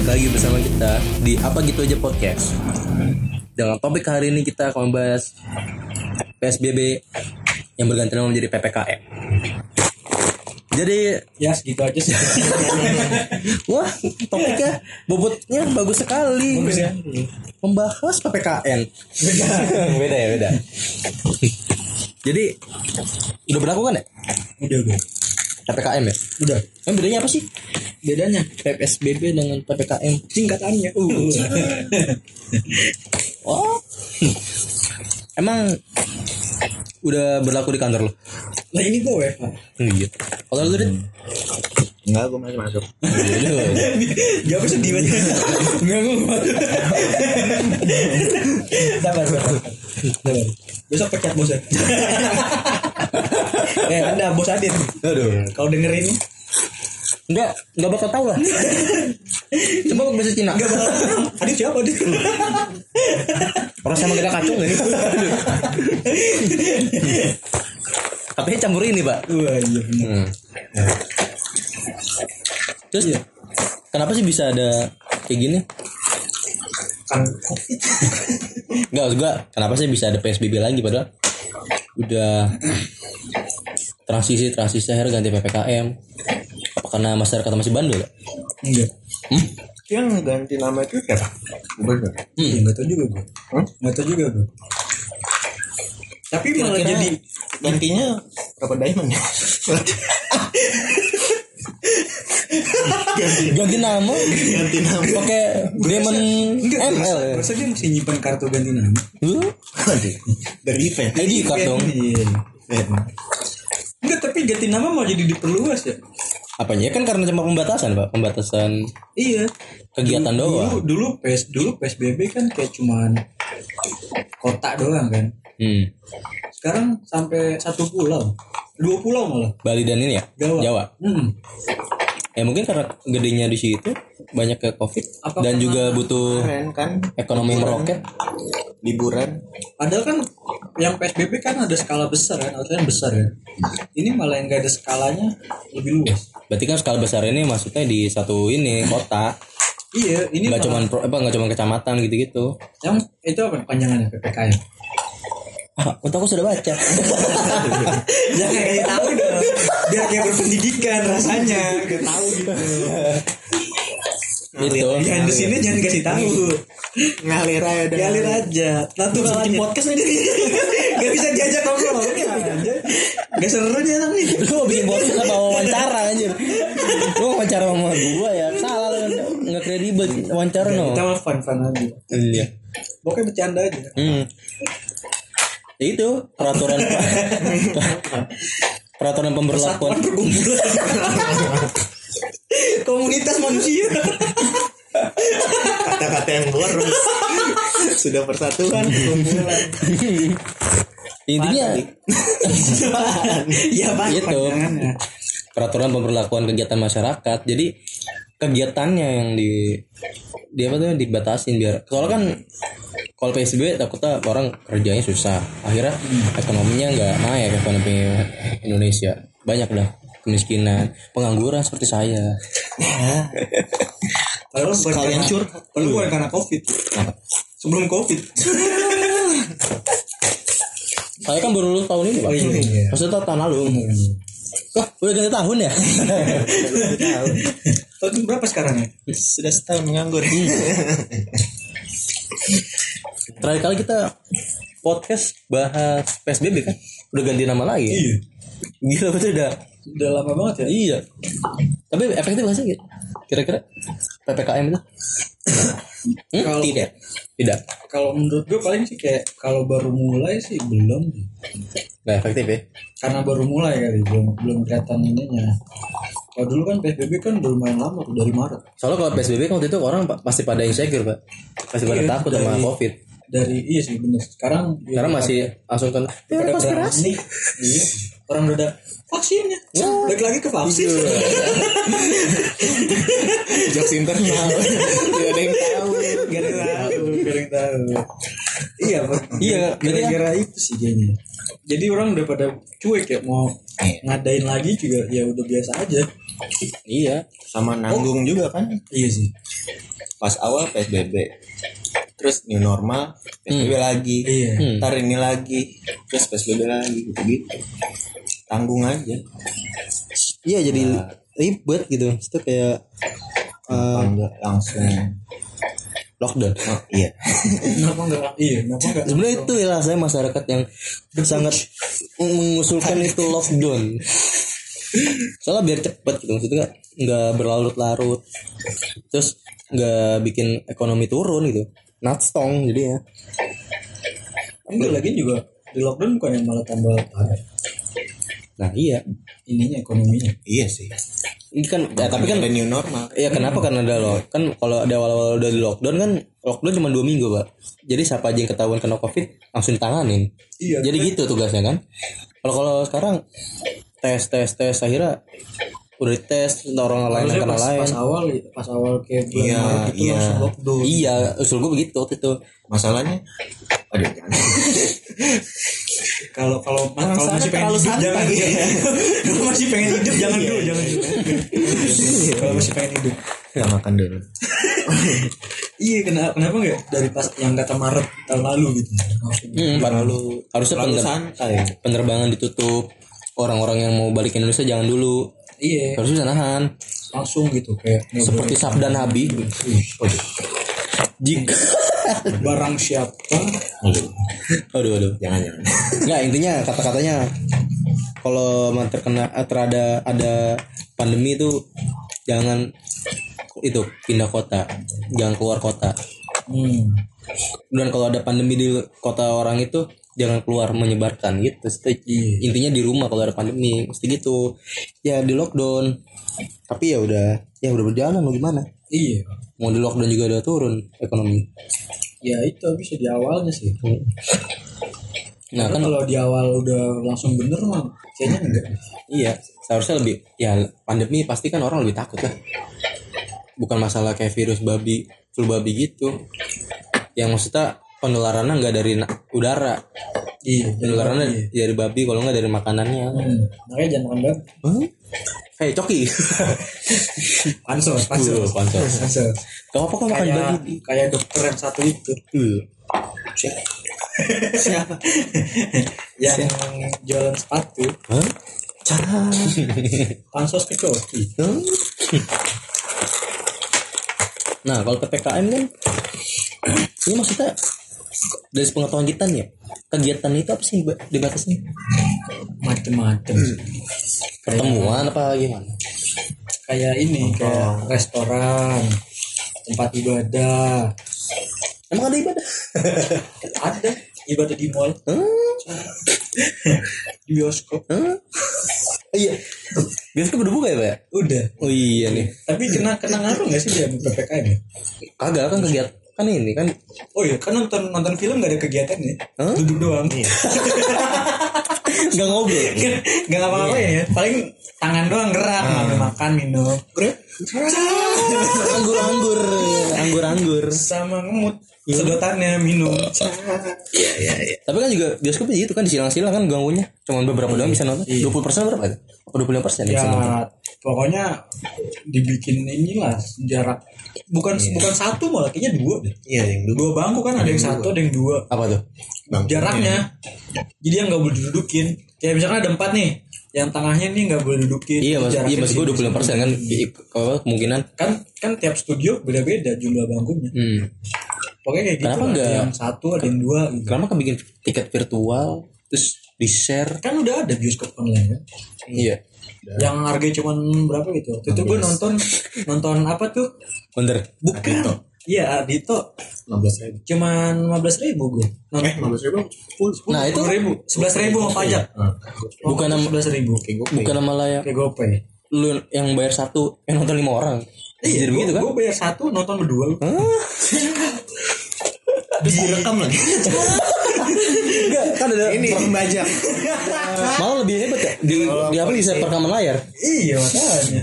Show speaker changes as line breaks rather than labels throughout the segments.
lagi bersama kita di Apa Gitu Aja Podcast Dengan topik hari ini kita akan membahas PSBB yang berganti nama menjadi PPKM Jadi,
Ya segitu aja sih.
wah topiknya bobotnya bagus sekali
Bagus ya.
Membahas PPKN Beda ya, beda Jadi, udah berlaku kan ya?
Udah udah.
PPKM ya?
Udah.
Emang bedanya apa sih?
Bedanya
PSBB dengan PPKM
singkatannya. Uh.
Oh. Emang udah berlaku di kantor lo?
Nah ini gue WFH.
Iya. Kalau lu Dit?
Enggak, gue masih masuk.
Dia Ya, apa sedih banget. Enggak gue. Sabar sabar. Sabar. Besok pecat bos ya. eh ada bos Adit.
Aduh.
Kalau dengerin
Enggak, enggak bakal tahu lah. Coba pakai bahasa Cina.
enggak bakal. Adit siapa Adit?
Orang sama kita kacung ini. Katanya campur ini, Pak.
Wah iya. bener.
Terus Kenapa sih bisa ada kayak gini?
Kan covid.
Enggak, juga kenapa sih bisa ada PSBB lagi padahal udah transisi transisi akhirnya ganti PPKM. Apa karena masyarakat masih bandel? ya?
Enggak.
Hmm?
Iya. Yang ganti nama itu siapa? Gubernur.
Iya nggak tahu juga gue.
Hmm?
Nggak tahu juga gue. Tapi malah
Kira-kira
jadi
gantinya Robert Diamond ya.
Ganti nama
ganti nama.
pakai Demon ya?
Enggak,
ML.
masa, masa dia mesti nyimpan kartu ganti nama?
Huh?
Ganti. Dari event.
Jadi
Iya,
card dong.
iya.
Event.
Enggak, tapi ganti nama mau jadi diperluas ya?
Apanya Ya kan karena cuma pembatasan, Pak. Pembatasan
Iya.
kegiatan doang.
Dulu, dulu PS, dulu PSBB kan kayak cuman kota doang kan.
Hmm.
Sekarang sampai satu pulau, dua pulau malah.
Bali dan ini ya?
Jawa.
Jawa.
Hmm.
Ya mungkin karena gedenya di situ banyak ke Covid
Apa
dan
karena-
juga butuh
Keren kan?
ekonomi meroket.
Liburan.
Padahal kan yang PSBB kan ada skala besar kan, artinya besar ya. Ini malah yang gak ada skalanya lebih luas.
Berarti kan skala besar ini maksudnya di satu ini kota,
Iya, ini
nggak
malah-
cuman pro- apa nggak cuman kecamatan gitu-gitu.
yang itu apa panjangannya PPKM?
Ah, untuk aku sudah baca.
Jangan Ya, kayak tahu dong. Biar kayak berpendidikan rasanya, gak tahu gitu.
itu.
Yang
ya.
di sini jangan kasih tahu.
Ngalir aja. dah.
Galir aja. Nanti kalau bikin podcast aja gak bisa diajak ngobrol. Gak seru nih anak nih.
Lu mau bikin podcast apa wawancara anjir? Lu mau wawancara sama gua ya? Salah lu nggak kredibel wawancara no.
Kita mah fun-fun aja.
Iya.
Pokoknya bercanda aja.
Hmm. Ya Itu peraturan peraturan pemberlakuan
Persatuan perkumpulan. Komunitas manusia.
Kata-kata yang boros. Sudah persatuan. Kumpulan.
intinya
ya Pak,
Gitu.
panjangannya.
peraturan pemberlakuan kegiatan masyarakat jadi kegiatannya yang di dia apa tuh dibatasin biar soalnya kan kalau PSBB takutnya orang kerjanya susah akhirnya
Hmm.
ekonominya nggak naik ekonomi Indonesia banyak dah kemiskinan pengangguran seperti saya
Padahal bukan
Sekalian
karena,
curhat.
padahal bukan karena covid. Sebelum covid.
saya kan baru lulus tahun ini pak
Oh, iya, iya.
maksudnya tahun lalu Wah, udah ganti tahun ya
Tahun berapa sekarang ya?
Sudah setahun menganggur.
terakhir kali kita podcast bahas PSBB kan udah ganti nama lagi
Iya.
gila betul udah
Udah lama banget ya?
Iya. Tapi efektif gak sih Ki? kira-kira PPKM itu? Hmm?
Kalau-
Tidak. Tidak.
Kalau menurut gue paling sih kayak kalau baru mulai sih belum
Gak efektif ya?
karena baru mulai kali belum belum kelihatan ininya. Kalau dulu kan PSBB kan udah lumayan lama tuh dari Maret.
Soalnya kalau PSBB kan waktu itu orang pa- pasti pada insecure pak. Pasti pada
Iya,
takut sama
dari-
COVID.
Dari iya sih bener. Sekarang ya,
Karena masih langsung kan.
pada berani. Iya. Orang udah ada vaksinnya. Balik lagi ke vaksin.
Jokes internal. Tidak ada yang tahu.
Gak ada yang tahu, gak ada yang tahu. Iya, Pak.
Iya,
gara-gara itu sih kayaknya. Jadi orang udah pada cuek ya mau ngadain lagi juga ya udah biasa aja.
Iya.
sama nanggung juga kan
Iya sih.
pas awal PSBB terus new normal PSBB lagi
Iya.
Hmm.
ntar ini lagi terus PSBB lagi gitu gitu tanggung aja
Iya jadi ribet gitu. Itu kayak
Apa enggak langsung
lockdown.
oh, iya
Kenapa enggak? Iya, kenapa enggak?
Sebenarnya itu ya rasanya masyarakat yang sangat mengusulkan itu lockdown. Soalnya biar cepat gitu maksudnya nggak- nggak berlarut-larut. Terus nggak bikin ekonomi turun gitu. Natstong jadi ya.
Enggak lagi juga di lockdown bukan yang malah tambah parah
Nah iya.
ininya ekonominya.
iya sih
Ini kan ya, tapi kan
ada new normal
Iya kenapa karena ada lo kan kalau ada awal-awal udah di lockdown kan lockdown cuma dua minggu pak jadi siapa aja yang ketahuan kena covid langsung ditanganin
Iya.
jadi gitu tugasnya kan kalau kalau sekarang tes tes tes akhirnya udah dites orang lain yang
Harusnya
kena
pas,
lain
pas awal pas awal kayak bulan
Iya,
Maret itu
iya.
langsung lockdown.
iya usul gue begitu waktu itu
masalahnya aduh jangan.
Kalau kalau
Orang
kalau
sana
masih pengen
terlalu
hidup
santai.
jangan Kalau masih pengen hidup jangan dulu, jangan dulu. Kalau masih pengen hidup.
nggak makan dulu
Iya, kenapa kenapa enggak dari pas yang kata Maret tahun lalu gitu.
Hmm,
terlalu
harusnya
terlalu
pener-
santai
penerbangan ditutup orang-orang yang mau balik ke Indonesia jangan dulu
Iya,
harusnya bisa nahan
langsung gitu kayak nggak
seperti sabda Nabi
boleh.
jika
barang siapa
Aduh,
aduh aduh
jangan jangan
Nggak intinya kata-katanya kalau emang terkena eh, terada ada pandemi itu jangan itu pindah kota, jangan keluar kota.
hmm.
Dan kalau ada pandemi di kota orang itu jangan keluar menyebarkan
Iya.
gitu. Mesti- Intinya di rumah kalau ada pandemi mesti gitu. Ya di lockdown. Tapi ya udah, ya udah berjalan mau gimana?
iya
Mau di lockdown juga udah turun ekonomi.
ya itu bisa di awalnya sih
Nah kan
kan kalau di awal udah langsung bener mah kayaknya enggak
Iya, seharusnya lebih ya pandemi pasti kan orang lebih takut lah. Bukan masalah kayak virus babi, flu babi gitu. Yang maksudnya penularannya nggak dari na- udara,
iya
penularannya dari babi kalau nggak dari makanannya.
hmm. makanya jangan makan banget
Hah? Hei coki,
pansos
Tuh,
pansos
pansos.
pansos
kamu apa kok makan
kayak
babi?
kayak dokter yang satu itu
Tuh.
siapa yang jualan sepatu
Hah?
pansos ke coki
Hah? Nah kalau ppkm kan, ini maksudnya dari pengetahuan kita nih, ya, kegiatan itu apa sih yang ba- dibatasi?
macem-macem
Pertemuan apa gimana?
kayak ini kayak restoran tempat ibadah
Emang ada ibadah?
ada ibadah di mall
Hah?
di bioskop
Hah? Iya. Bioskop udah buka ya, Pak? ya?
udah
Oh iya nih.
tapi kena kena ngaruh nggak sih dia sama ppkm ya?
Kagak kan kegiatan kan ini kan
oh iya kan nonton nonton film nggak ada kegiatan ya
Hah?
duduk doang
nggak ngobrol.
nggak ngapa-ngapain ya paling tangan doang gerak makan makan minum
Iya. Anggur-anggur, anggur-anggur.
sama ngemut sedotannya minum
Tapi kan juga bioskopnya gitu kan disilang-silang kan gangguannya. Cuman beberapa doang bisa nonton.
Iya.
20% berapa? ya? Apa 25% ya
ya
bisa nonton?
pokoknya dibikin inilah jarak bukan
Iya.
bukan satu malah kayaknya dua deh
iya yang dulu
dua bangku kan ada yang satu ada yang dua
Apa tuh?
Bang.
jaraknya
iya.
jadi yang nggak boleh didudukin kayak misalkan ada empat nih yang tengahnya nih nggak boleh dudukin
Iya, mas,
Jaraknya
iya maksud
segini,
gue 25% kan i- apa, kemungkinan
kan kan tiap studio beda-beda jumlah bangkunya
hmm.
pokoknya kayak gitu
Kenapa
lah.
nggak-
ada yang satu ada yang dua gitu
Kenapa kan bikin tiket virtual terus di-share?
kan udah ada bioskop online kan
Iya.
yang harganya cuman berapa gitu waktu itu gue nonton nonton apa tuh
Bener.
bukan iya Adito
enam belas ribu
cuman 15.000 ribu gue
eh enam belas ribu
Nah, itu
ribu Iya. sebelas ribu sama pajak
Bukan
Waktu
yang-
itu 11.000 ribu
bukan malah yang
kayak gopay
lu yang bayar satu yang nonton lima orang iya, jadi begitu kan
gue bayar satu nonton berdua
terus direkam lagi
enggak kan ada
ini pembajak
malah lebih hebat ya di, di apa di set perekaman layar
iya makanya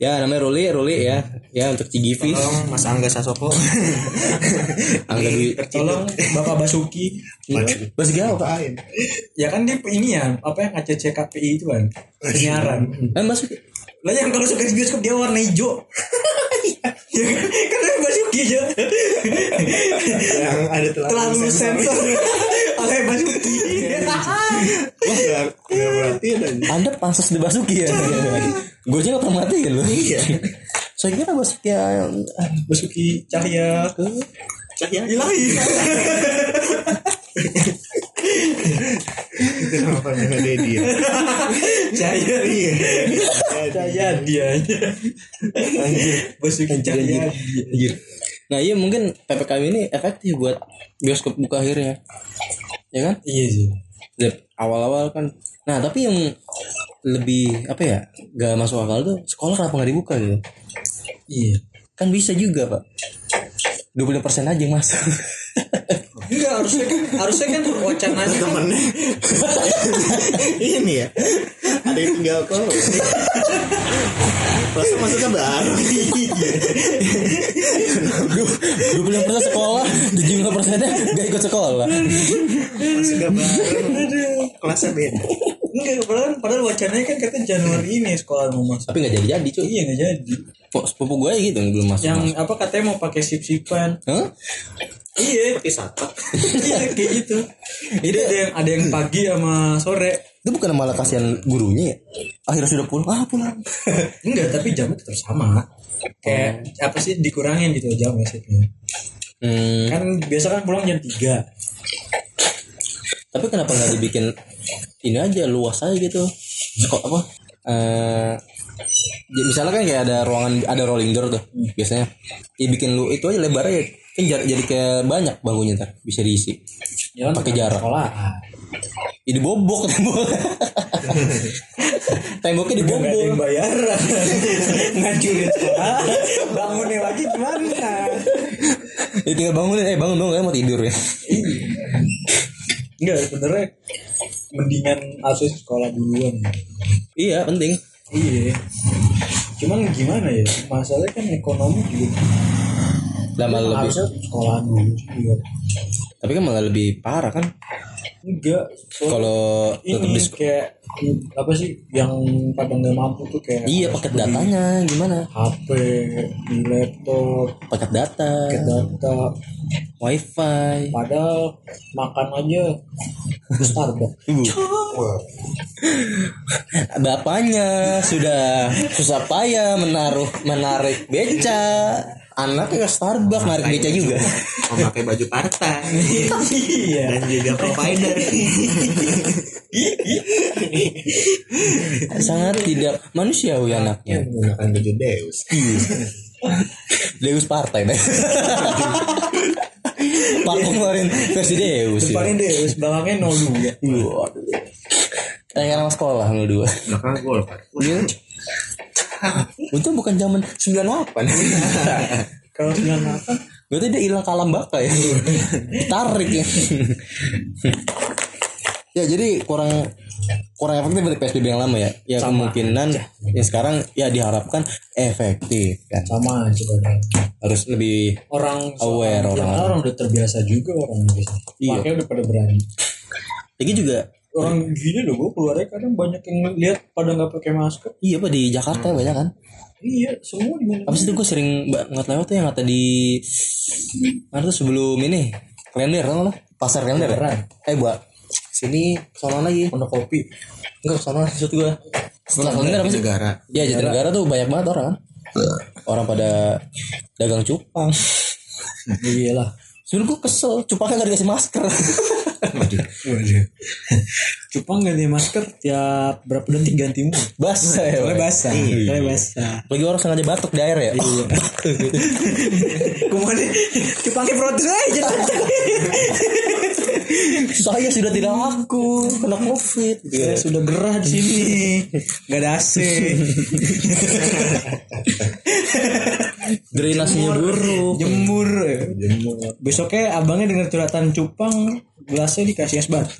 ya namanya Ruli Ruli ya ya untuk Cigivis
Tolong Mas Angga Sasoko.
Angga Dwi
Tolong Bapak Basuki.
Bas Gao Kak
Ngapain?
Ya kan dia ini ya, apa yang ACC KPI itu kan. Penyiaran.
kan Basuki
Lah yang kalau suka di bioskop dia warna hijau. ya kan? Kan dia Basuki aja.
Yang ada telah
Telah lulus sensor oleh Basuki.
Iya,
Udah berarti ada
Anda pansos di Basuki ya Gojek otomatis ya loh Iya Saya kira Basuki ya
Basuki Cahya Cahya Ilahi.
itu nama panjangnya dia.
Cahya dia. Cahya iya. dia. Basuki
Anjir,
Cahya.
anjir. Anjir. Nah iya mungkin PPKM ini efektif buat bioskop buka akhirnya Ya kan
Iya sih.
Dari Awal-awal kan Nah tapi yang lebih apa ya Gak masuk akal tuh Sekolah kenapa gak dibuka gitu
Iya.
Kan bisa juga pak 25% aja yang masuk
Enggak harusnya kan harusnya kan wacananya kan
Temennya ini ya. Ada yang tinggal kok. Masa maksudnya baru.
25% sekolah 75% nya gak ikut sekolah
Maksudnya baru. Kelasnya beda.
enggak padahal padahal wacananya kan kata Januari ini sekolah mau masuk.
Tapi gak jadi-jadi cuy
Iya enggak jadi.
Kok sepupu gue gitu yang belum masuk
Yang apa katanya mau pakai sip-sipan.
Hah?
Iya, Iya, kayak gitu. Jadi ada yang ada yang pagi sama sore.
Itu bukan malah kasihan gurunya ya Akhirnya sudah pulang Ah pulang
Enggak, tapi jamnya tetap sama. Kayak apa sih dikurangin gitu jamnya sipnya.
hmm,
Kan biasa kan pulang jam 3.
Tapi kenapa nggak dibikin Ini aja luas aja gitu Sekol apa Eh, ya misalnya kan kayak ada ruangan ada rolling door tuh biasanya ya bikin lu itu aja lebar aja kan jar- jadi kayak banyak bangkunya ntar bisa diisi
Ya kan
Pakai jarak. Iya.
Sekolah.
ya dibobok tembok temboknya
Enggak ada yang
dibobok
bayar. Ngancurin sekolah. Bangunnya lagi gimana?
ya tinggal bangunin eh bangun dong saya mau tidur ya
Enggak, sebenarnya mendingan asus sekolah duluan.
iya penting
Iya. Cuman gimana ya? Masalahnya kan ekonomi juga.
lama lebih
Harusnya sekolah dulu sih juga.
tapi kan malah lebih parah kan
Enggak. soalnya
kalau tutup
ini
bis-
kayak apa sih yang pada nggak mampu tuh kayak
iya paket datanya gimana
HP, di laptop,
paket data
pakai data.
wifi
Padahal makan aja ke Starbucks.
Ibu. Bapaknya sudah susah payah menaruh menarik beca. Anaknya ke Starbucks narik beca juga.
Memakai baju partai
iya.
dan juga provider.
Sangat tidak manusiawi anaknya.
Menggunakan baju Deus.
Deus partai deh. Partai kemarin versi Deus. ya.
Depannya deh, terus belakangnya nol juga.
Waduh. Kayak nama sekolah 02.
Belakang gol.
Iya. Untung bukan zaman 98.
Kalau dengan apa?
Berarti dia hilang kalam baka ya Ditarik ya Ya jadi kurang kurang efektif dari PSBB yang lama ya Ya kemungkinan ya sekarang ya diharapkan efektif kan
Sama sebenarnya.
Harus lebih
Orang
Aware
ya,
orang.
orang udah terbiasa juga orang biasa.
Iya.
Makanya udah pada berani.
Lagi juga
Orang gini loh, gue keluarnya kadang banyak yang lihat pada nggak pakai masker.
Iya apa di Jakarta banyak kan
Iya, semua di mana?
Habis itu gue sering banget lewat tuh yang kata di Mana tuh sebelum ini Klender tau lah Pasar Klender ya?
Beneran.
Eh buat Sini kesana lagi
Pondok kopi.
Enggak kesana maksud gue Setelah Klender apa sih
Negara.
Ya Jatinegara tuh banyak banget orang kan. Orang pada dagang cupang.
Iyalah.
Sebenernya gue kesel, cupangnya gak dikasih masker.
Cupang ganti masker tiap berapa detik ganti mulu.
basah ya.
Soalnya
Pak.
basah. Iya. Soalnya basah. Iya.
Lagi orang sengaja batuk di air ya.
Kemana? Cupangnya protes aja.
Saya sudah tidak
Iya.
laku, kena covid.
Saya sudah gerah di sini. Gak ada AC.
Drainasenya
Iya.
buruk.
Jemur. Besoknya abangnya dengar curhatan cupang gelasnya dikasih es batu.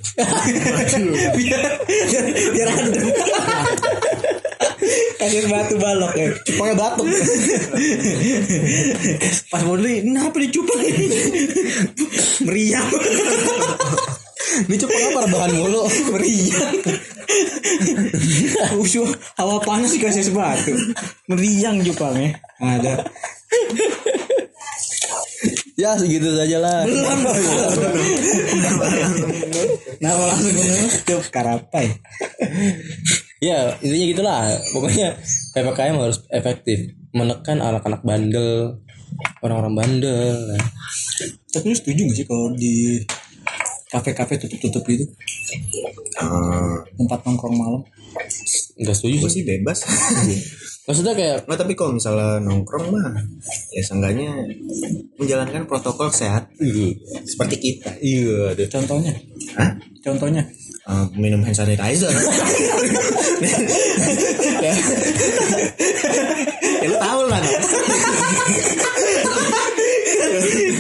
biar biar adem.
kasir batu balok ya cupangnya batuk pas mau beli kenapa dicupang meriang ini cupang apa rebahan mulu meriang
Usuh, hawa panas dikasih sebatu. Meriang cupangnya. Ada.
ya segitu saja lah
Nah, kalau langsung menutup karapai.
ya intinya gitulah pokoknya ppkm harus efektif menekan anak-anak bandel orang-orang bandel
Tapi lu setuju gak sih kalau di kafe-kafe tutup-tutup gitu
Ah,
tempat nongkrong malam?
nggak setuju
gue
sih
sih bebas.
maksudnya kayak
Nah, tapi kalau misalnya nongkrong mah ya seenggaknya menjalankan protokol sehat seperti kita.
iya deh
Contohnya?
Hah?
Contohnya?
Ah, minum hand sanitizer. ya lu tahu lah. Nas.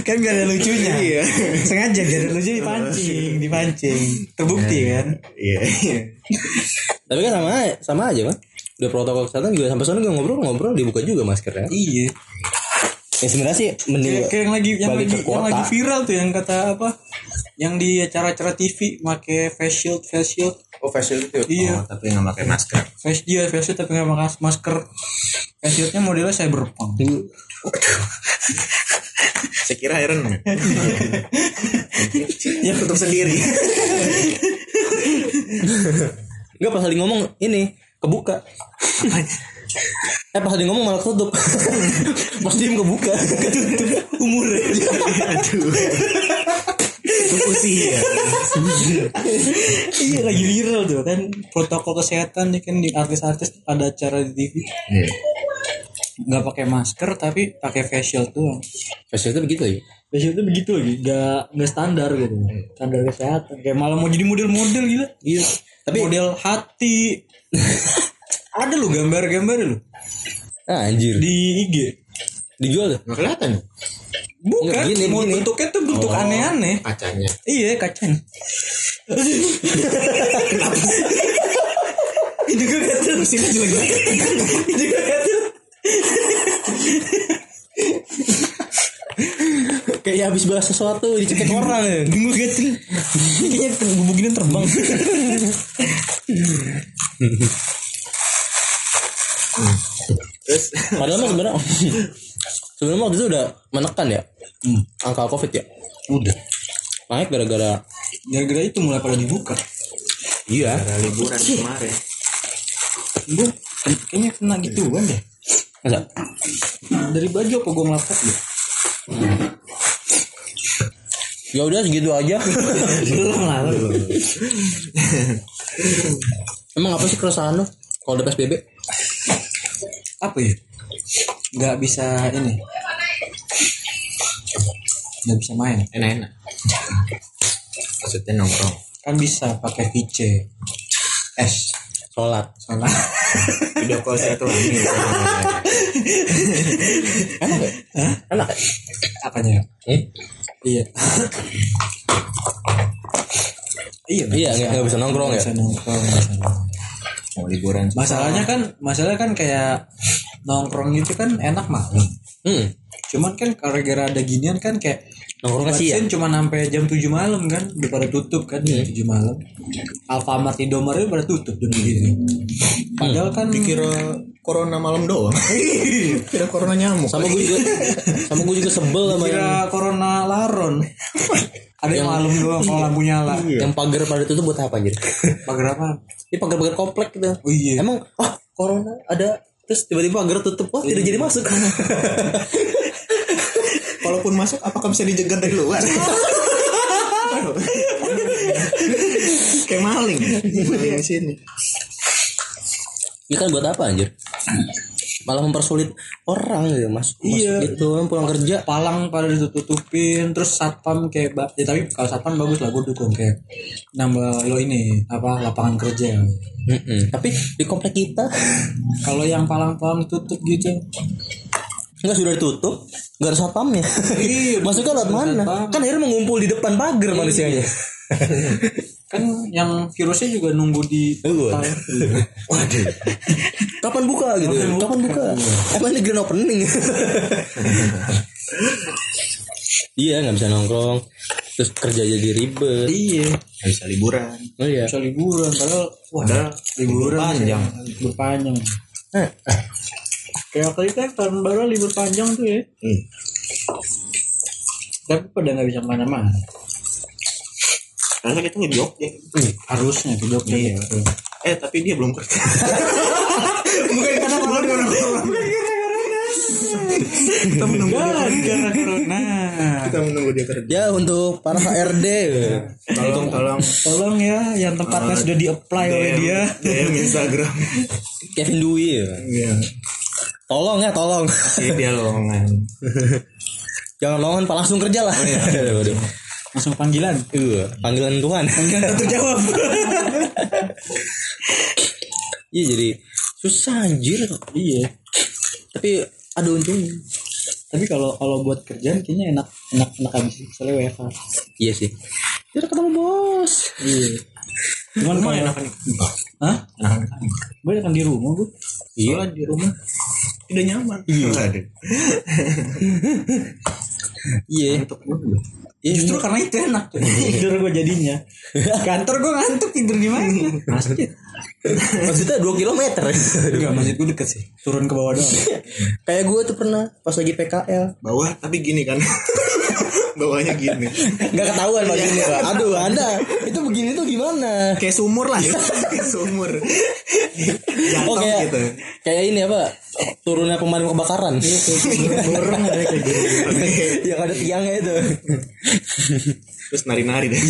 kan gak ada lucunya.
Iya.
Sengaja gak ada lucu dipancing, dipancing. Terbukti kan?
Iya. iya.
Tapi kan sama sama aja kan. Udah protokol kesehatan juga sampai sana gue ngobrol-ngobrol dibuka juga maskernya.
Iya.
Ya sebenarnya sih mending
Kayak, kayak yang lagi yang
balik
lagi
ke
yang
kota.
lagi viral tuh yang kata apa? Yang di acara-acara TV make face shield, face shield,
Oh facial itu.
Iya.
Oh, tapi nggak pakai masker.
face dia face shield tapi nggak pakai masker. Face shieldnya modelnya cyberpunk.
Saya kira Iron Man. ya tutup sendiri.
Enggak pas lagi ngomong ini kebuka. eh pas lagi ngomong malah ketutup. pas diem kebuka. Eh, Ketutup umurnya.
Fungsi ya.
iya lagi viral tuh kan protokol kesehatan nih kan di artis-artis ada acara di TV
Iya.
nggak pakai masker tapi pakai facial tuh
Facial itu begitu ya.
facial tuh begitu lagi nggak nggak standar gitu standar kesehatan kayak malah mau jadi model-model gila
Iya. Tapi
model hati ada lu gambar-gambar lu
ah, anjir.
di IG
Dijual tuh.
Nggak kelihatan ya?
bukan
Nggak, gini,
mau
gini. Oh,
bentuknya tuh bentuk aneh-aneh
kacanya.
iya kacang ini juga kacang mesinnya jelek banget ini juga kacang
Kayak ya habis bahas sesuatu dicekek orang ya.
Dengus kecil Kayaknya bubuginan terbang
Terus
Padahal mah sebenarnya sebenarnya waktu itu udah menekan ya angka covid ya.
Udah
Naik gara-gara
Gara-gara itu mulai pada dibuka
iya.
ada liburan kemarin.
Gue kayaknya kena gitu kan deh
Masa?
Dari baju apa gue ngelapok ya
Ya udah segitu aja.
Belum lah
Emang apa sih keresahan lo kalau ada PSBB?
Apa ya Gak bisa ini Gak bisa main
Enak-enak. Maksudnya nongkrong.
Kan bisa pakai VC S
Sholat.
Salah
Video call saya tuh lagi.
Enak.
Apanya ya?
Eh?
Iya Iya,
Iya, nggak- nggak bisa nongkrong ya?
Nggak bisa nongkrong, nggak bisa nongkrong.
Mau liburan.
masalahnya kan masalahnya kan kayak nongkrong gitu kan enak malam
Hmm.
cuman kan kalau gara ada ginian kan kayak
Nongkrong sih ya. Iya.
Vaksin cuma sampai jam 7 malam kan udah pada tutup kan jam 7 malam Alfamart Indomaret udah pada tutup jam segini
Hmm.
padahal kan
Kira corona malam doang. Kira corona nyamuk.
Sama gue juga. sama gue juga sebel sama yang,
kira corona laron ada yang malam doang
Iya.
kalau lampu nyala
yang pagar pada itu tuh buat apa anjir?
pagar apa
Ini pagar-pagar komplek gitu.
oh iya
Emang oh, corona ada terus tiba-tiba pagar tutup wah tidak jadi masuk.
Kalaupun masuk apakah bisa dijegat dari luar? Kayak maling. Maling di sini.
Ini kan buat apa anjir? Malah mempersulit orang gitu mas.
Iya.
Masuk gitu kan pulang kerja.
palang pada ditutupin terus satpam kayak ba- ya, tapi kalau satpam bagus lah gue dukung kayak nambah lo ini apa lapangan kerja
Mm-mm. Tapi di komplek kita
kalau yang palang-palang tutup gitu
Enggak sudah ditutup, enggak ada satpamnya.
Iya,
Masuknya lewat
ada
mana?
satpam.
Kan akhirnya mengumpul di depan pagar manusianya.
kan yang virusnya juga nunggu di
Nunggu.
Waduh.
Kapan buka gitu? Kapan, buka? Kapan di grand opening? iya nggak bisa nongkrong terus kerja jadi ribet
iya
Nggak bisa liburan.
oh iya
bisa liburan padahal wah
Padahal
liburan
panjang.
ya, Eh. libur panjang kayak kali kan tahun baru libur panjang tuh ya
Hmm.
tapi pada nggak bisa kemana-mana
Karena kita nge Jogja.
Iya. harusnya ke Jogja ya.
Eh tapi dia belum kerja.
bukan karena corona kita menunggu karena corona Nah.
Kita menunggu dia kerja.
ya untuk para HRD
Tolong tolong
tolong ya yang tempatnya sudah di apply oleh
DM,
dia
DM Instagram.
Kevin Dwi ya.
Iya.
tolong ya tolong
Si Iya, dia lowongan.
jangan lowongan pak langsung kerja lah Waduh.
langsung panggilan
Iya, panggilan Tuhan
Nggak terjawab
iya jadi susah anjir
iya
tapi ada untungnya
tapi kalau kalau buat kerjaan kayaknya enak enak enak habis misalnya WFH
iya sih tidak ketemu bos
iya cuman kalau enak hah
Nah,
gue enakan di rumah gue
iya di rumah tidak nyaman. Iya. Ada.
iya
Untuk gue.
iya
justru karena itu enak tuh. tidur gue jadinya kantor gue ngantuk tidur di mana Iya. masjid
maksudnya dua kilometer
enggak masjid gue deket sih turun ke bawah doang
kayak gue tuh pernah pas lagi PKL
Bawah tapi gini kan. Bawahnya gini.
nggak ketahuan pak gini pak aduh anda itu begini tuh gimana
Kayak sumur lah. Iya, Kayak sumur. Jatuh
oh kayak
gitu.
kayak ini apa turunnya pemadam kebakaran
burung ada kayak gitu
yang ada tiangnya itu
Terus nari-nari deh.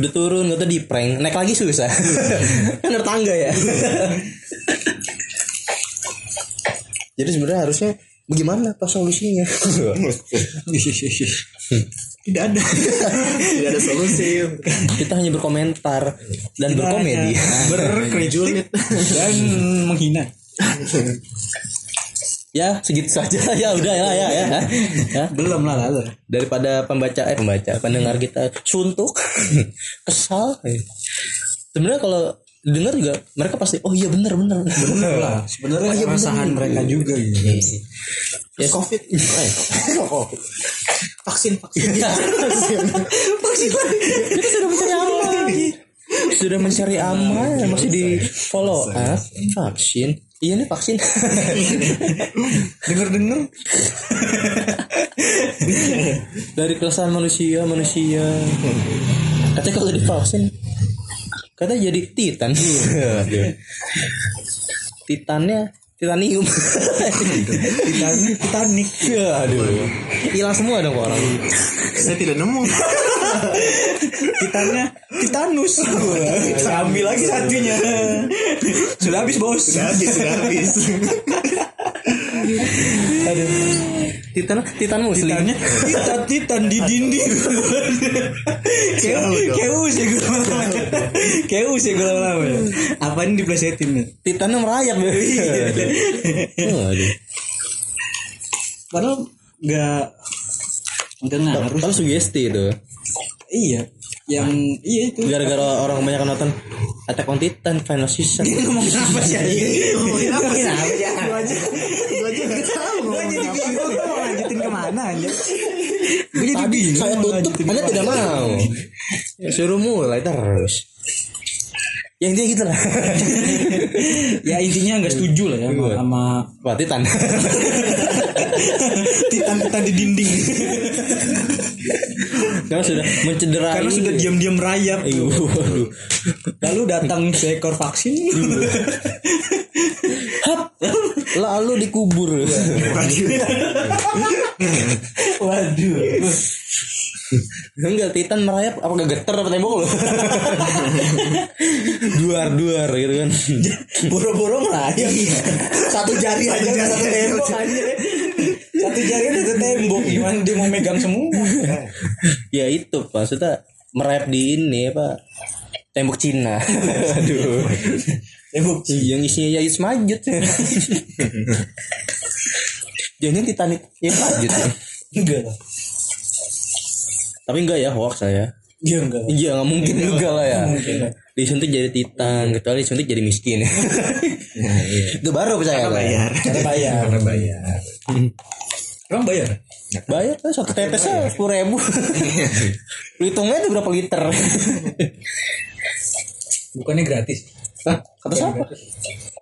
udah turun udah di prank naik lagi susah kan ada tangga ya jadi sebenarnya harusnya bagaimana pas solusinya
Tidak ada. Tidak ada solusi.
kita hanya berkomentar dan berkomedi
Berkritik.
dan menghina
ya segitu saja ya udah ya ya ya ya
belum lah lalu
daripada pembaca eh pembaca pendengar kita suntuk kesal sebenarnya kalau dengar juga mereka pasti oh iya bener bener
bener lah sebenarnya
Oh, iya, bener.
keresahan mereka juga gitu
Yes. Iya.
Covid. Eh, Covid. Vaksin vaksin.
kita sudah mencari aman sudah mencari aman masih di follow up vaksin iya nih vaksin
denger denger
dari keresahan manusia manusia katanya kalau divaksin katanya jadi titan
Iya.
titannya titanium
Titanic
Ya, aduh.
Iya.
Hilang semua dong orang.
Saya tidak nemu.
titannya Titanus Kita ambil lagi satunya sudah habis bos
Sudah habis, sudah habis.
Aduh. Titan Titan muslim.
Titannya Titan Titan di dinding Keus Keus ya gue Keus ya gue lama ya Apa ini diplesetin ya
Titannya merayap. Aduh. Aduh.
Padahal Gak Gak ngaruh
Kalau sugesti itu.
Iya Yang Iya itu
Gara-gara orang banyak nonton Attack on Titan final season. Iya.
Ngomong apa sih Iya, Ngomongin apa sih Gue aja
Gue aja nggak tahu.
Gue jadi bingung Gue mau lanjutin kemana aja Gue jadi
Tadi
bingung
saya
mau
tutup,
lanjutin
Anda
kemana.
tidak mau. Suruh mulai terus. Yang dia gitu lah.
Ya intinya gak setuju lah ya sama- Sama
Wah, Titan.
Titan-titan di dinding
Karena sudah mencederai.
Karena sudah diam-diam merayap
Iya, waduh.
Lalu datang seekor vaksin.
Hap. Lalu dikubur.
Waduh.
Enggak, Titan merayap apa gak geter apa tembok lu? duar-duar gitu kan.
Boro-boro merayap. Satu jari aja nggak satu tembok aja. Satu jari aja satu tembok. Gimana dia mau megang semua?
ya itu maksudnya merayap di ini apa tembok Cina. Aduh.
Tembok sih.
Yang isinya Yais Majid. Jangan Titanic Yais Majid. ya.
Enggak lah.
Tapi enggak ya hoax saya.
Iya enggak.
Iya nggak mungkin juga lah ya.
Mungkin lah.
Disuntik jadi titan, kecuali disuntik jadi miskin. Itu baru percaya ya. lah. Iya, Bayar.
Karena bayar.
Karena bayar.
Emang bayar?
Iya, Bayar Iya. tuh satu tetesnya sepuluh ribu. Lu hitungnya itu berapa liter?
Bukannya gratis.
Hah? Kata siapa?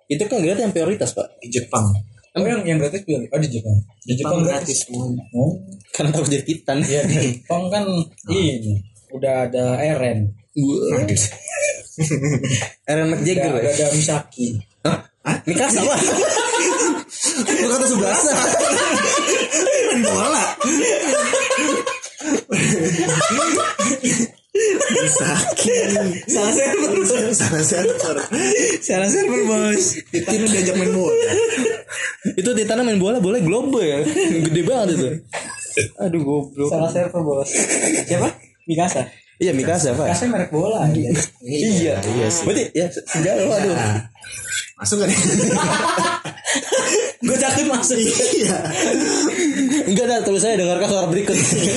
iya. Itu kan gratis yang prioritas pak.
Di Jepang.
Oh yang yang gratis biar oh di Jepang. Di Jepang gratis. Oh.
Karena takut jadi titan.
Iya di Jepang kan ini udah ada Eren,
Aaron
udah,
McJagger
udah
ya.
ada Misaki.
Hah? Ini kelas apa?
Lu kata sebelah Main bola.
Salah server.
Salah sensor.
Salah server bos.
Titan udah diajak main bola.
itu titannya main bola boleh globe ya. Gede banget itu. Aduh goblok.
Salah server bos. Siapa? Mikasa.
Iya Mikasa pak.
Mikasa merek bola. anjay.
Iya, iya sih. Nah. Berarti ya sejauh aduh.
Masuk gak nih?
Gue takut masuk.
Iya.
Enggak ada terus saya dengarkan suara berikut. Iya.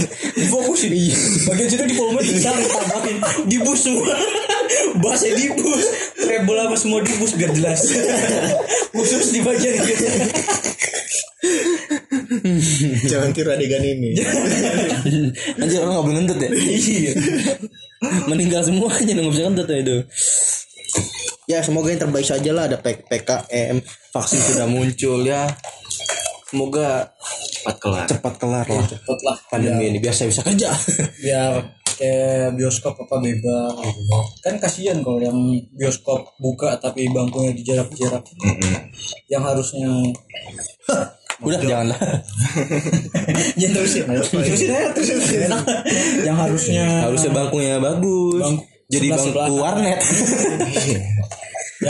Fokus ini. Bagian situ di pomer bisa ditambahin dibus semua. Bahasa dibus, treble apa semua dibus biar jelas. Khusus di bagian gitu.
Jangan tiru adegan ini.
Anjir orang nggak boleh ngentut ya.
Iya.
Meninggal semuanya nggak bisa ngentut ya itu. Ya semoga yang terbaik saja lah ada P- PKM vaksin sudah muncul ya. Semoga
Cepat kelar.
cepat kelar lah
Cepet lah.
pandemi ini biar saya bisa kerja.
biar kayak bioskop apa bebas gitu. kan kasihan kalau yang bioskop buka tapi bangkunya dijarak-jarak yang harusnya
Udah janganlah.
ya terusin terusin aja terusin enak yang harusnya
Harusnya bangkunya bagus.
Bangku-
jadi
sebelah-sebelah.
bangku warnet.
Oh,
Iya.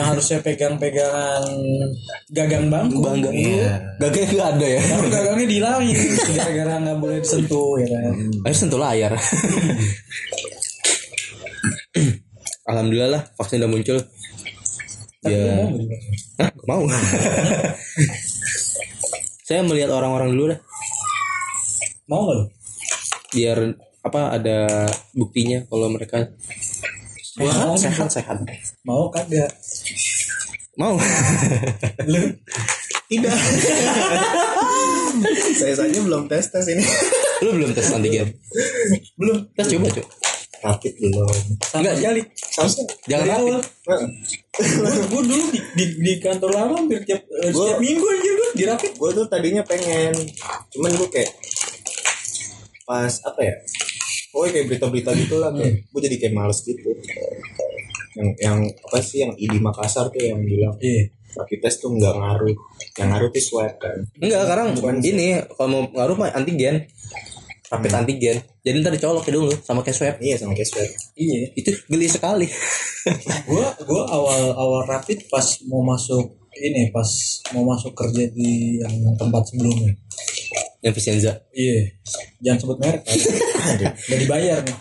yang harusnya pegang-pegangan gagang bangku
Bangga. Gaganya nggak ada ya.
Tapi gagangnya dihilangin gara-gara nggak boleh disentuh ya kan
Ayo sentuh layar. Alhamdulillah lah vaksin udah muncul.
tapi
Ya.
mau nggak?
Hah, gak mau. Saya melihat orang-orang dulu dah
mau nggak lo
biar apa ada buktinya kalau mereka
mau
sehat sehat.
mau kagak
Mau.
lu
Tidak. Saya saja belum tes tes ini.
Lu belum tes antigen?
belum
Tes coba, Cuk.
Rapid belum. eh,
sama sekali
Samsung.
Jangan
Dari
rapid.
awal. gue dulu di, di, di kantor lama hampir tiap, eh,
Gua-
setiap minggu anjir gue dirapit
gue tuh tadinya pengen cuman gue kayak pas apa ya oh kayak berita-berita gitu lah kayak gue jadi kayak males gitu yang yang apa sih yang ID Makassar tuh yang bilang
iya
rapid test tuh nggak ngaruh yang ngaruh tuh swab kan
Enggak, sekarang ini kalau mau ngaruh mah antigen. Rapid antigen. Jadi ntar dicolok ya dulu sama kayak swab.
iya sama kayak swab
iya
Itu geli sekali.
gue gue awal awal rapit pas mau masuk ini pas mau masuk kerja di yang tempat sebelumnya
Yang Vicenza.
iya jangan sebut merek kan udah dibayar nih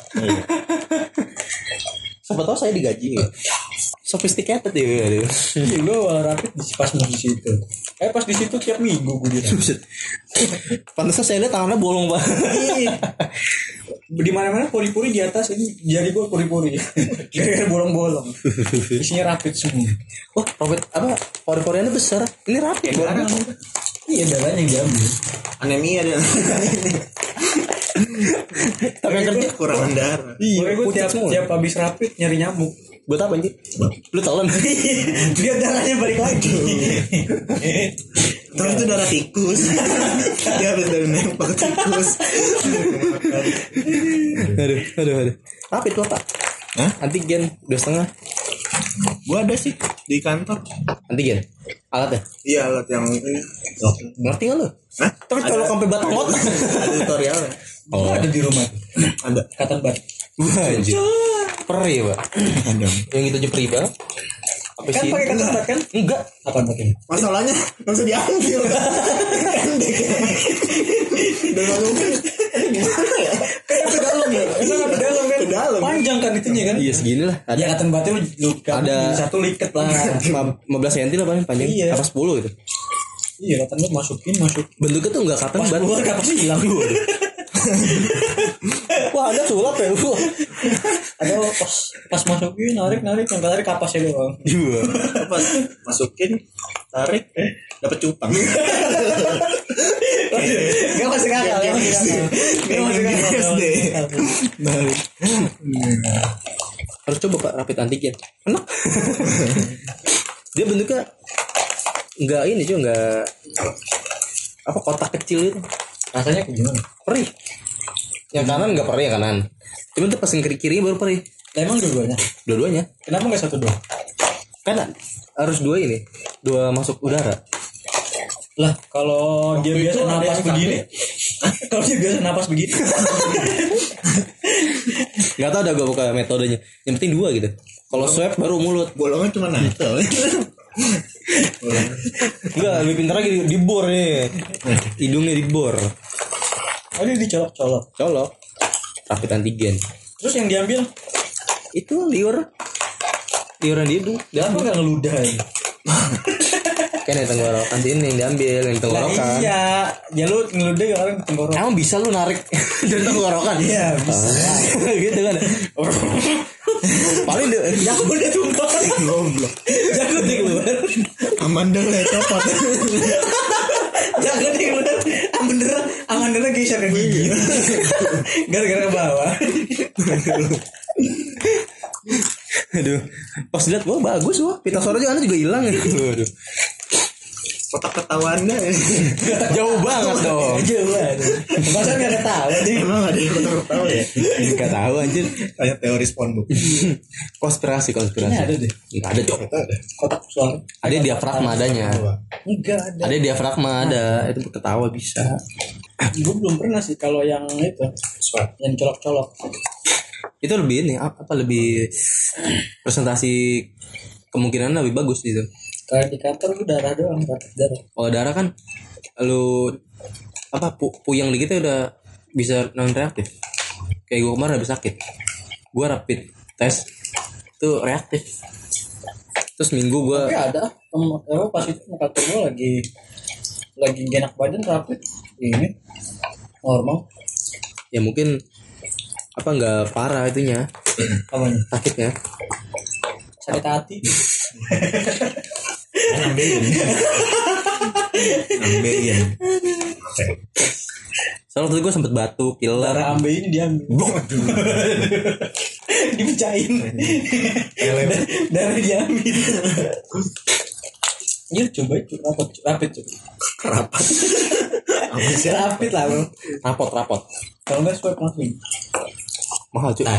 Siapa tahu saya digaji. Sophisticated ya. aduh.
iya gue awal rapit di pas mau di situ eh pas di situ tiap minggu gue dirapit
Pantesan saya lihat tangannya bolong pak.
Iya. di mana mana pori-pori di atas ini jari gue pori-pori gara-gara bolong-bolong isinya rapit semua
Wah, robot Oh, apa? Pori-poriannya besar. Ini rapi. ya, bolong.
iya darahnya yang diambil
anemia dan
Tapi yang kerja
kekurangan darah
Iya,
Iya.
gue
pucat
tiap,
semua.
tiap habis rapid nyari nyamuk.
buat apa anjir? Lu kan? telan.
Lihat darahnya balik lagi.
terus itu darah tikus dia harus dari nempel tikus
aduh, aduh, aduh. Rapi tuh apa?
Hah?
Antigen dua setengah.
gue ada sih di kantor
Antigen. Alatnya.
iya alat yang ini
Ngerti nggak lu?
Hah?
Tapi kalau sampai batang otak.
ada tutorialnya
Lu
Oh,
ada di rumah.
ada
Kata bat.
wah anjir. Oh, Perih, ya, Pak.
ada
Yang itu aja perih banget. Apa
Kan
sih?
pakai kata bat kan?
Enggak.
Apa pakai?
Masalahnya langsung diambil. Pendek. Dan lalu gimana ya?
Kayak ke dalam ya. Itu kan ke dalam kan?
Ke dalam.
Panjang kan itunya kan?
Iya, segini lah.
Ya
Ada
kata batnya lu, lu gabung
Ada- Iya.
jadi satu liket lah.
15 cm lah paling panjang.
Iya.
Apa 10 gitu.
iya kata bat masukin masukin.
Bentuknya tuh enggak katen
Pas
banget.
keluar kapan sih hilang? Wah ada sulap ya lu. ada pas pas masukin narik narik yang tarik kapasnya doang.
Pas masukin, tarik, eh, dapat cupang.
Gak masuk akal. Gak masuk akal. Gak iya, masuk akal. Gak masuk akal.
harus coba pak rapid antigen enak dia bentuknya nggak ini juga nggak apa kotak kecil itu
Rasanya kayak gimana?
perih yang kanan nggak perih yang kanan cuma tuh pas yang kiri kiri baru perih
Lah, emang dua-duanya?
dua-duanya
Kenapa gak satu dua?
kan harus dua ini dua masuk udara
Lah kalau dia
Waktu itu
biasa
ada
napas
yang
begini. Kalau dia biasa napas begini.
nggak tahu dah gue buka metodenya yang penting dua gitu kalau swab baru mulut
Bolongnya cuma nato.
Enggak, lebih pintar lagi dibor nih. Hidungnya dibor.
Oh dia dicolok-colok.
Colok. Rapid antigen.
Terus yang diambil,
Itu liur. Liuran di hidung.
dia apa gak ngeludah ya?
Kan yang tenggorokan sini yang diambil, yang
Lah
tenggorokan.
iya, ya lu ngeludah gak orang tenggorok.
Emang bisa lu narik dari tenggorokan?
Iya, bisa.
gitu kan. Paling dia-
Ya aku udah tumpah.
Goblok.
Jangan dia keluar.
Amanda lah
ya,
copot.
Jangan dia keluar. Amandera, amandera geser ke gigi. Gara-gara bawah.
aduh. Pas lihat wah bagus wah. Pita suara juga anda juga hilang. ya. Aduh.
Kotak ketawanda.
Jauh banget dong.
Aja lu. Masa gak ketawa sih?
Emang ada yang kotak ketawa ya?
Enggak tahu anjir.
Kayak teori SpongeBob.
Konspirasi konspirasi.
Ini ada deh.
Enggak ada, Cok.
Kotak suara.
Ada diafragma adanya.
Enggak ada.
Ada diafragma ada, itu ketawa bisa.
Gue belum pernah sih kalau yang itu. Yang colok-colok.
Itu lebih ini apa apa lebih presentasi kemungkinan lebih bagus gitu.
Kalau di kantor gue darah doang, darah darah.
Kalau darah kan lu apa pu puyeng dikit ya udah bisa non reaktif. Kayak gue kemarin habis sakit. Gue rapid tes itu reaktif. Terus minggu gue
Tapi ada em- emang pas itu muka gue lagi lagi gak enak badan rapid ini normal
ya mungkin apa nggak parah itunya
apanya
sakitnya
sakit hati
Ambeien. Ambeien.
soalnya waktu gue sempet batuk pilek
darah ambe ini diambil dipecahin Da- darah diambil Ya coba itu rapid rapid coba.
Kerapat. Apa sih?
Rapid lah bro.
rapot rapot
Kalau nggak swab langsung.
mahal cuy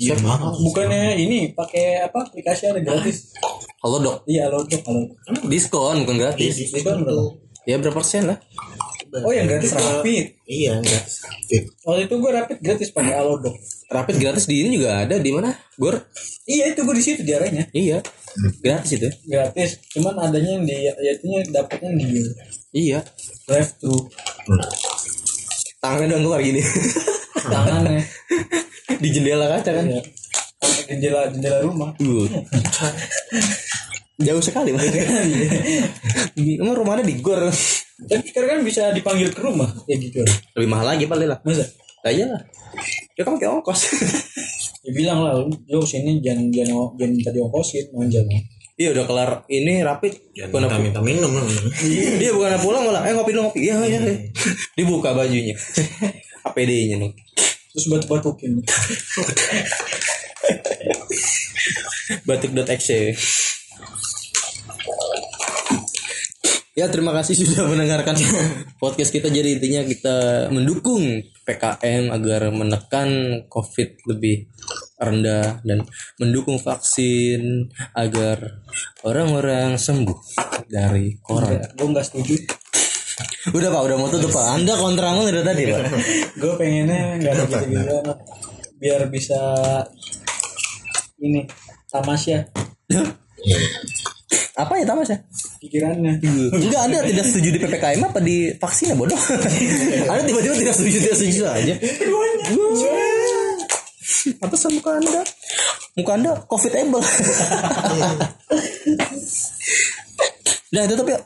Iya mahal.
Bukannya ini pakai apa aplikasi ada gratis?
kalau dok
Iya lo tuh kalau
diskon bukan gratis
itu kan berapa?
ya berapa persen lah
Oh yang gratis rapid.
Iya, enggak.
Waktu itu gue rapid gratis ya, pakai Alodok.
rapid gratis di ini juga ada di mana gor
Iya itu gue di situ diarahnya
iya gratis itu
gratis. Cuman adanya yang di yaitu dapatnya yang di
iya
drive thru
tangannya doang keluar gini
tangannya.
di jendela kaca kan
Iya. Sampai jendela jendela rumah.
Uh. jauh sekali mas emang rumah ada di gor
Iya. Tapi sekarang kan bisa dipanggil ke rumah ya gitu.
lebih mahal lagi paling lah
Masa?
lah iyalah ya kan pakai ongkos
Ya bilang lah lu, lu sini jangan jangan jangan minta diongkosin manja lu.
iya udah kelar ini rapid bukan
Minta minta minum.
dia bukan pulang malah eh ngopi dulu ngopi iya iya iya. dibuka bajunya APD-nya nih
Terus batuk-batukin.
batik.exe Ya terima kasih sudah mendengarkan podcast kita Jadi intinya kita mendukung PKM agar menekan COVID lebih rendah Dan mendukung vaksin agar orang-orang sembuh dari corona
Gue nggak setuju.
Udah pak udah mau tutup pak Anda kontra mulu dari tadi pak
Gue pengennya nggak ada gitu-gitu biar bisa ini ya, tamasya
Apa ya tamas ya?
pikirannya.
Enggak Anda tidak setuju di PPKM apa di vaksinnya bodoh Anda tiba-tiba tidak setuju tidak setuju aja Apa sama Iya. muka anda? Muka anda covid able Nah tutup yuk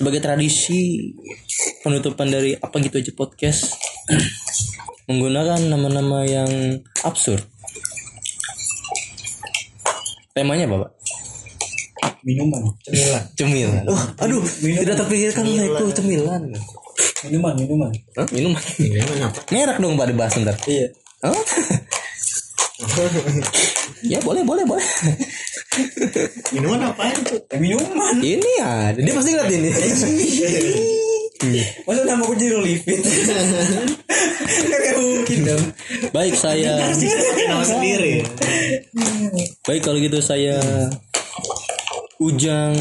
Sebagai tradisi penutupan dari apa gitu aja podcast menggunakan nama-nama yang absurd. Temanya apa, Pak?
minuman cemilan
Cemilan. Wah, aduh, tidak terpikirkan Leko cemilan.
minuman minuman
Hah? Minuman. Merek dong, Pak, dibahas ntar.
iya
Hah? ya boleh boleh boleh
Minuman apaan tuh?
ya, minuman
ini ada dia pasti ngeliat ini
masa nama gue jadi Olivit nggak mungkin dong
baik saya
Pakai nama sendiri.
baik kalau gitu saya ujang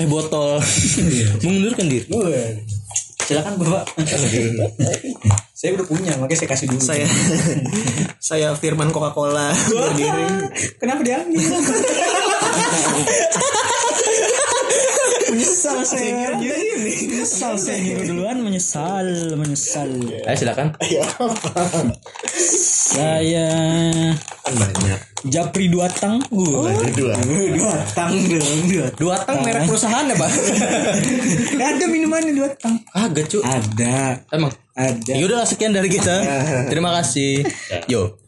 teh botol mengundurkan diri
Boleh. silakan bapak saya udah punya makanya saya kasih dulu
saya saya Firman Coca-Cola
Wah, kenapa diambil menyesal saya menyesal saya ngirim duluan menyesal menyesal
ayo silakan
saya
Kan banyak.
Japri dua tang Wah,
Berdua.
Oh. dua tang dong dua
dua tang merek perusahaan ya pak
ada minumannya dua tang
agak cu
ada
emang
ada
Ya yaudah sekian dari kita terima kasih yo